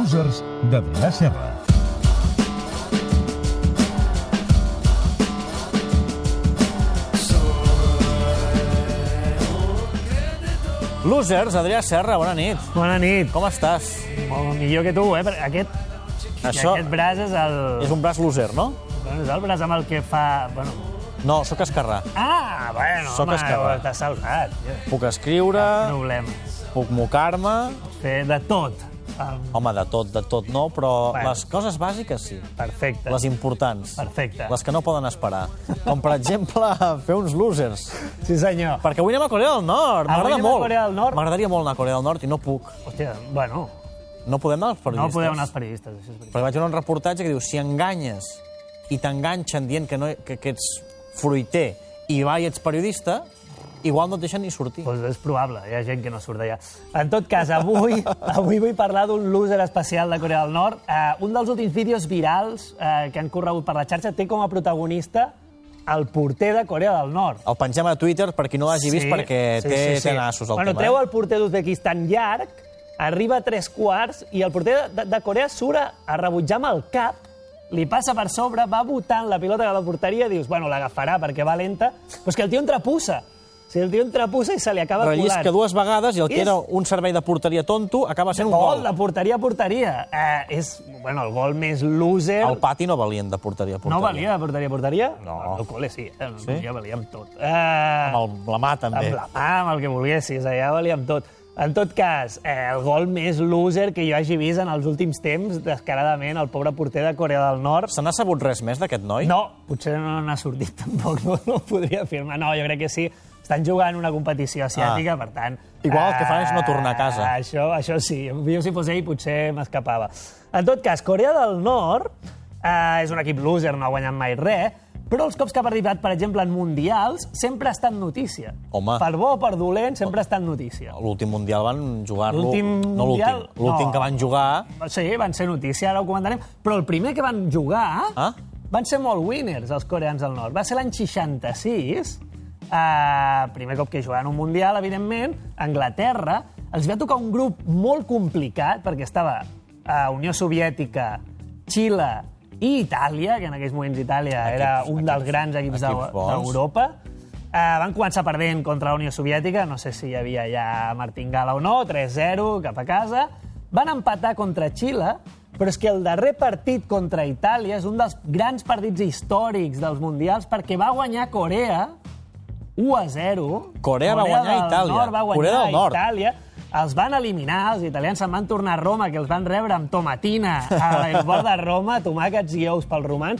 Users de Vila-serra. Losers, Adrià Serra, bona nit. Bona nit. Com estàs? Molt millor que tu, eh? Perquè Aquest, Això aquest braç és el... és un braç loser, no? Bueno, és el braç amb el que fa... Bueno... No, sóc esquerrà. Ah, bueno, Sóc home, esquerrà. t'has salvat. tio. Puc escriure, Problemes. puc mocar-me... Fer de tot. Um, Home, de tot, de tot no, però Bueno. les coses bàsiques sí. Perfecte. Les importants. Perfecte. Les que no poden esperar. Com, per exemple, fer uns losers. Sí, senyor. Perquè avui anem a Corea del Avui Nord. M'agrada anem a molt. Corea del Nord. M'agradaria molt anar a Corea del Nord i no puc. Hòstia, bueno, No podem anar als no periodistes. podeu anar als periodistes, això és veritat. Perquè vaig veure un reportatge que diu si enganyes i t'enganxen dient que, no, que, que ets fruiter i va i ets periodista, igual no et deixen ni sortir. Doncs és probable, hi ha gent que no surt d'allà. En tot cas, avui avui vull parlar d'un loser especial de Corea del Nord. Uh, un dels últims vídeos virals uh, que han corregut per la xarxa té com a protagonista el porter de Corea del Nord. El pengem a Twitter per qui no l'hagi vist perquè té, té nassos el bueno, tema. eh? Treu el porter d'Uzbekistan llarg, arriba a tres quarts i el porter de, de Corea surt a, a rebutjar amb el cap li passa per sobre, va votant la pilota que la porteria, dius, bueno, l'agafarà perquè va lenta, però és que el tio entrepussa. O sigui, el tio entrepussa i se li acaba colant. Rellisca dues vegades i el que És- era un servei de porteria tonto acaba sent un Gol gol. de porteria a porteria. Eh, és, bueno, el gol més loser... El pati no valien de porteria a porteria. No valia de porteria a porteria? No. El meu col·le sí, eh? Sí? sí? ja valia amb tot. Eh, Amb el, la mà, també. amb la mà, amb el que volguessis, allà valia amb tot. En tot cas, eh, el gol més loser que jo hagi vist en els últims temps, descaradament, el pobre porter de Corea del Nord. Se n'ha sabut res més d'aquest noi? No, potser no n'ha sortit tampoc, no, no ho podria afirmar. No, jo crec que sí. Estan jugant una competició asiàtica, Ah. ah. per tant... Igual el que fan és no ah, tornar a casa. Això, això sí, jo si fos ell potser m'escapava. En tot cas, Corea del Nord eh, és un equip loser, no ha guanyat mai res, però els cops que ha participat, per exemple, en mundials, sempre ha estat notícia. Home. Per bo o per dolent, sempre ha estat notícia. L'últim mundial van jugar-lo... L'últim No l'últim. mundial? No. L'últim que van jugar... Sí, van ser notícia, ara ho comentarem. Però el primer que van jugar Ah? van ser molt winners, els coreans del nord. Va ser l'any 66, eh, primer cop que jugaven un Mundial, evidentment, a Anglaterra. Els va tocar un grup molt complicat, perquè estava a Unió Soviètica, Xile i Itàlia, que en aquells moments Itàlia Equips- era un dels equips- grans equips equips d'Eu- bons. d'Europa. Uh, van començar perdent contra la Unió Soviètica, no sé si hi havia ja Martingala o no, 3-0, cap a casa. Van empatar contra Xile, però és que el darrer partit contra Itàlia és un dels grans partits històrics dels Mundials perquè va guanyar Corea 1 a 0. Corea va guanyar del Itàlia. Nord va guanyar Corea del Nord. Itàlia. Els van eliminar, els italians se'n van tornar a Roma, que els van rebre amb tomatina a l'aeroport de Roma, tomàquets i ous pels romans,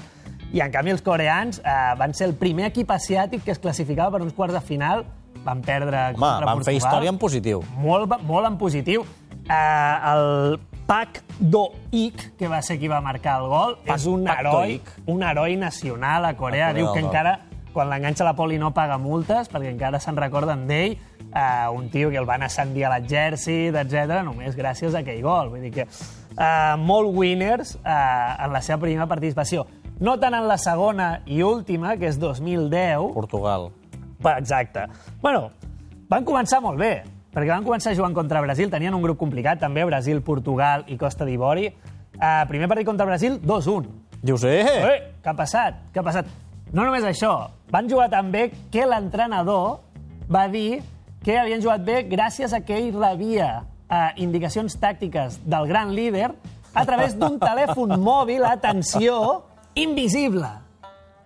i en canvi els coreans eh, van ser el primer equip asiàtic que es classificava per uns quarts de final. Van perdre Home, contra van fer Portugal. història en positiu. Molt, molt en positiu. Eh, el Pak Do-ik, que va ser qui va marcar el gol, Pak- és un Pak heroi, Do-ik. un heroi nacional a Corea. A Corea Corea Diu del que Nord. encara, quan l'enganxa la poli, no paga multes, perquè encara se'n recorden d'ell, eh, un tio que el van ascendir a l'exèrcit, etc només gràcies a aquell gol. Vull dir que eh, molt winners eh, en la seva primera participació. No tant en la segona i última, que és 2010, Portugal. Va, Exacte. Bueno, van començar molt bé, perquè van començar jugant contra Brasil, tenien un grup complicat també, Brasil, Portugal i Costa d'Ivori. Uh, primer partit contra Brasil, 2-1. Dius, eh! Eh, què ha passat? Què ha passat? No només això, van jugar tan bé que l'entrenador va dir que havien jugat bé gràcies a que ell rebia eh, indicacions tàctiques del gran líder a través d'un telèfon mòbil, atenció, invisible.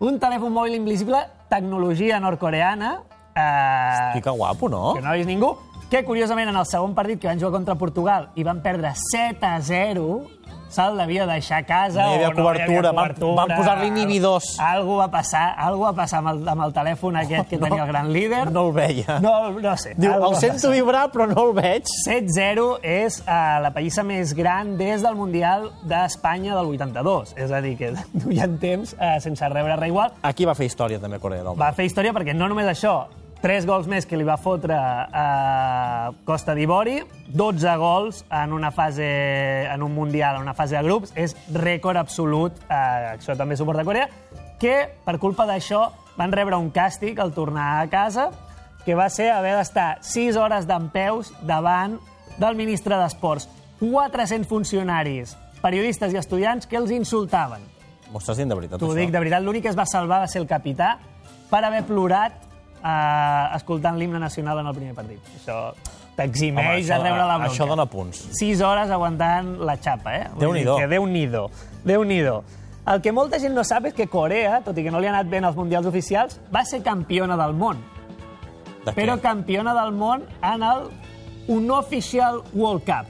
Un telèfon mòbil invisible, tecnologia nord-coreana. Eh, I que guapo, no? que no ha vist ningú, que curiosament en el segon partit que van jugar contra Portugal i van perdre 7 a 0, se'l devia deixar a casa. No hi havia o no hi havia cobertura, van- cobertura. van posar-li inhibidors. Algo va passar, algo va passar amb el, amb el telèfon aquest que tenia el gran líder. No el veia. no, no sé. Diu, algo el va sento vibrar, però no el veig. 7-0 és eh, la pallissa més gran des del Mundial d'Espanya del 82. És a dir, que duien temps eh, sense rebre res igual. Aquí va fer història, també, Corea del Nord. va fer història perquè no només això, 3 gols més que li va fotre a Costa d'Ivori, 12 gols en una fase en un Mundial, en una fase de grups, és rècord absolut, eh, això també suporta Corea, que per culpa d'això van rebre un càstig al tornar a casa, que va ser haver d'estar 6 hores dempeus davant del ministre d'Esports 400 funcionaris, periodistes i estudiants que els insultaven. M'ho estàs dient de veritat, T'ho això? dic, de veritat, l'únic que es va salvar va ser el capità per haver plorat eh, escoltant l'himne nacional en el primer partit. Això t'eximeix de rebre la bronca. Això dona punts. 6 hores aguantant la xapa, eh? Vull Déu-n'hi-do. dir que Déu-n'hi-do. déu nhi déu El que molta gent no sap és que Corea, tot i que no li ha anat bé en els mundials oficials, va ser campiona del món. De Però què? campiona del món en el Unofficial World Cup.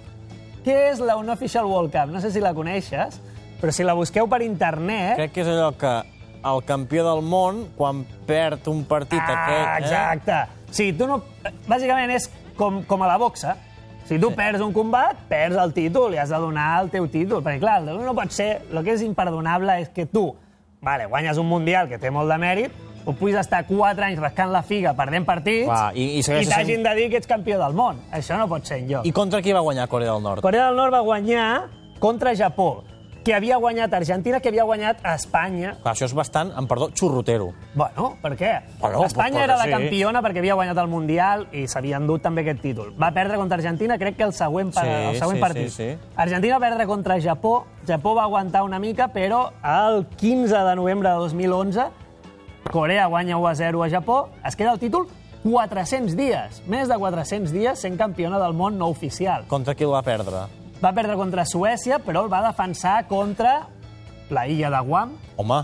Què és la Unofficial World Cup? No sé si la coneixes, però si la busqueu per internet... Crec que és allò que el campió del món, quan perd un partit eh? aquell... Ah, exacte. Sí, tu no... Bàsicament és com, com a la boxa. Si tu perds un combat, perds el títol i has de donar el teu títol. Perquè, clar, el no pot ser... El que és imperdonable és que tu vale, guanyes un Mundial que té molt de mèrit, o puguis estar 4 anys rascant la figa perdent partits Clar, i- i segueixes sent- t'hagin de dir que ets campió del món. Això no pot ser enlloc. Eh? I contra qui va guanyar Corea del Nord? Corea del Nord va guanyar contra Japó, que havia guanyat Argentina, que havia guanyat Espanya, Clar, això és bastant, em perdó, xurrotero. Bueno, per què? Bueno, Espanya però era la que sí. campiona perquè havia guanyat el Mundial i s'havia endut també aquest títol. Va perdre contra Argentina, crec que el següent, pa- Sí, el següent sí, partit. sí, sí. Argentina va perdre contra Japó, Japó va aguantar una mica, però el 15 de novembre de 2011 Corea guanya 1 a 0 a Japó, es queda el títol 400 dies, més de 400 dies sent campiona del món no oficial. Contra qui el va perdre? Va perdre contra Suècia, però el va defensar contra la illa de Guam, Home,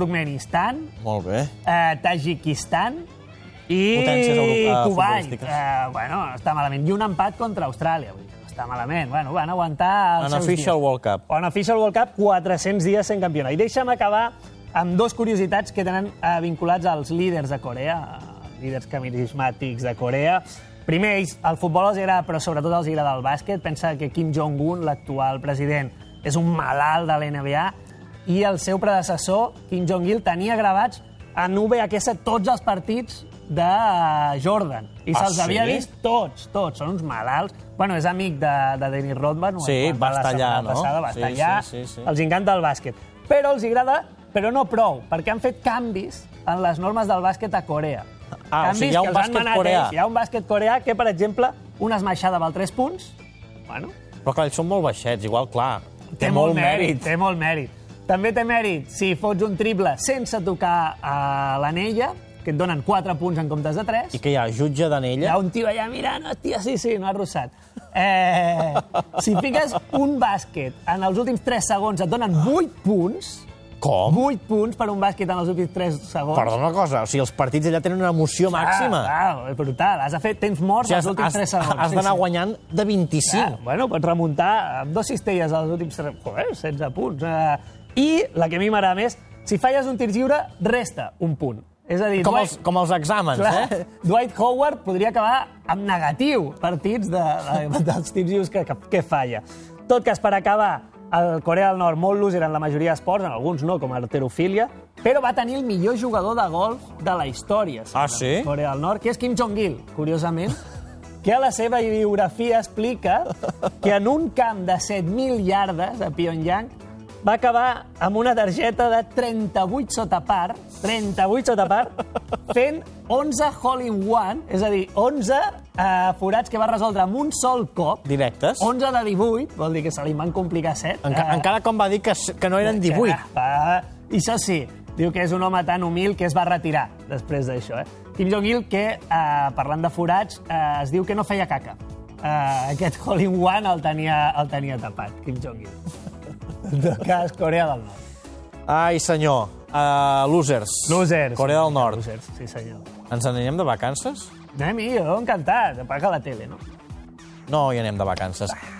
Turkmenistan, molt bé. eh, Tajikistan i Potències euro- eh, Kuwait. futbolístiques. Eh, bueno, està malament. I un empat contra Austràlia. Vull dir, no està malament. Bueno, van aguantar els En seus official dies. World Cup. En Official World Cup, 400 dies sent campiona. I deixa'm acabar amb dos curiositats que tenen eh, vinculats als líders de Corea, eh, líders carismàtics de Corea. Primer, ells, el futbol els agrada, però sobretot els agrada el bàsquet. Pensa que Kim Jong-un, l'actual president, és un malalt de la NBA i el seu predecessor, Kim Jong-il, tenia gravats en VHS tots els partits de eh, Jordan. I Ah, se'ls havia sí? vist tots, tots. Són uns malalts. Bueno, és amic de, de Dennis Rodman, ho Sí, vam va parlar la estar allà, setmana no? Passada, va Sí, estar allà. sí, sí, sí. Els encanta el bàsquet. Però els agrada, però no prou, perquè han fet canvis en les normes del bàsquet a Corea. Ah, o sigui, hi ha que els un han bàsquet manat coreà. ells. Hi ha un bàsquet coreà que, per exemple, una esmaixada val 3 punts. Bueno, Però clar, ells són molt baixets, igual, clar. Té, molt mèrit. Té molt mèrit. També té mèrit si fots un triple sense tocar a l'anella, que et donen 4 punts en comptes de 3. I que hi ha jutge eh? Hi ha d'anella... un tio allà mirant, hòstia, sí, sí, no ha rossat. Eh, si fiques un bàsquet en els últims 3 segons et donen 8 punts, Com? 8 punts per un bàsquet en els últims 3 segons. Perdona una cosa, o sigui, els partits allà tenen una emoció màxima. Ah, ah, brutal. Has de fer temps morts O sigui, els últims 3 segons. has d'anar guanyant de 25. Ah, bueno, pots remuntar amb dos cistelles als últims... tre- Joder, 16 punts. Eh, I la que a mi m'agrada més, si falles un tir lliure, resta un punt. És a dir, Com, Dwight- els, com els exàmens, Clar, eh? Dwight Howard podria acabar amb negatiu partits de, de, dels tirs lliures que, que, que falla. Tot cas, per acabar, el Corea del Nord molt loser en la majoria d'esports, en alguns no, com a arterofília, però va tenir el millor jugador de golf de la història. Ah, segurament, sí? Corea del Nord, que és Kim Jong-il, curiosament, que a la seva biografia explica que en un camp de 7.000 yardes a Pyongyang va acabar amb una targeta de 38 sota par, 38 sota par, fent 11 hole in one, és a dir, 11 eh, forats que va resoldre amb un sol cop, Directes. 11 de 18, vol dir que se li van complicar eh, 7. Enca Encara com va dir que, s- que no eren 18. Va, eh? I això sí, diu que és un home tan humil que es va retirar després d'això. Eh? Kim Jong-il, que, eh, parlant de forats, eh, es diu que no feia caca. Eh, aquest hole in one el tenia, el tenia tapat, Kim Jong-il. En tot cas, Corea del Nord. Ai, senyor. Uh, losers. Losers. Corea del Nord. Losers, sí senyor. Ens n'anem de vacances? Anem-hi, jo encantat. Apaga la tele, no? No hi anem de vacances.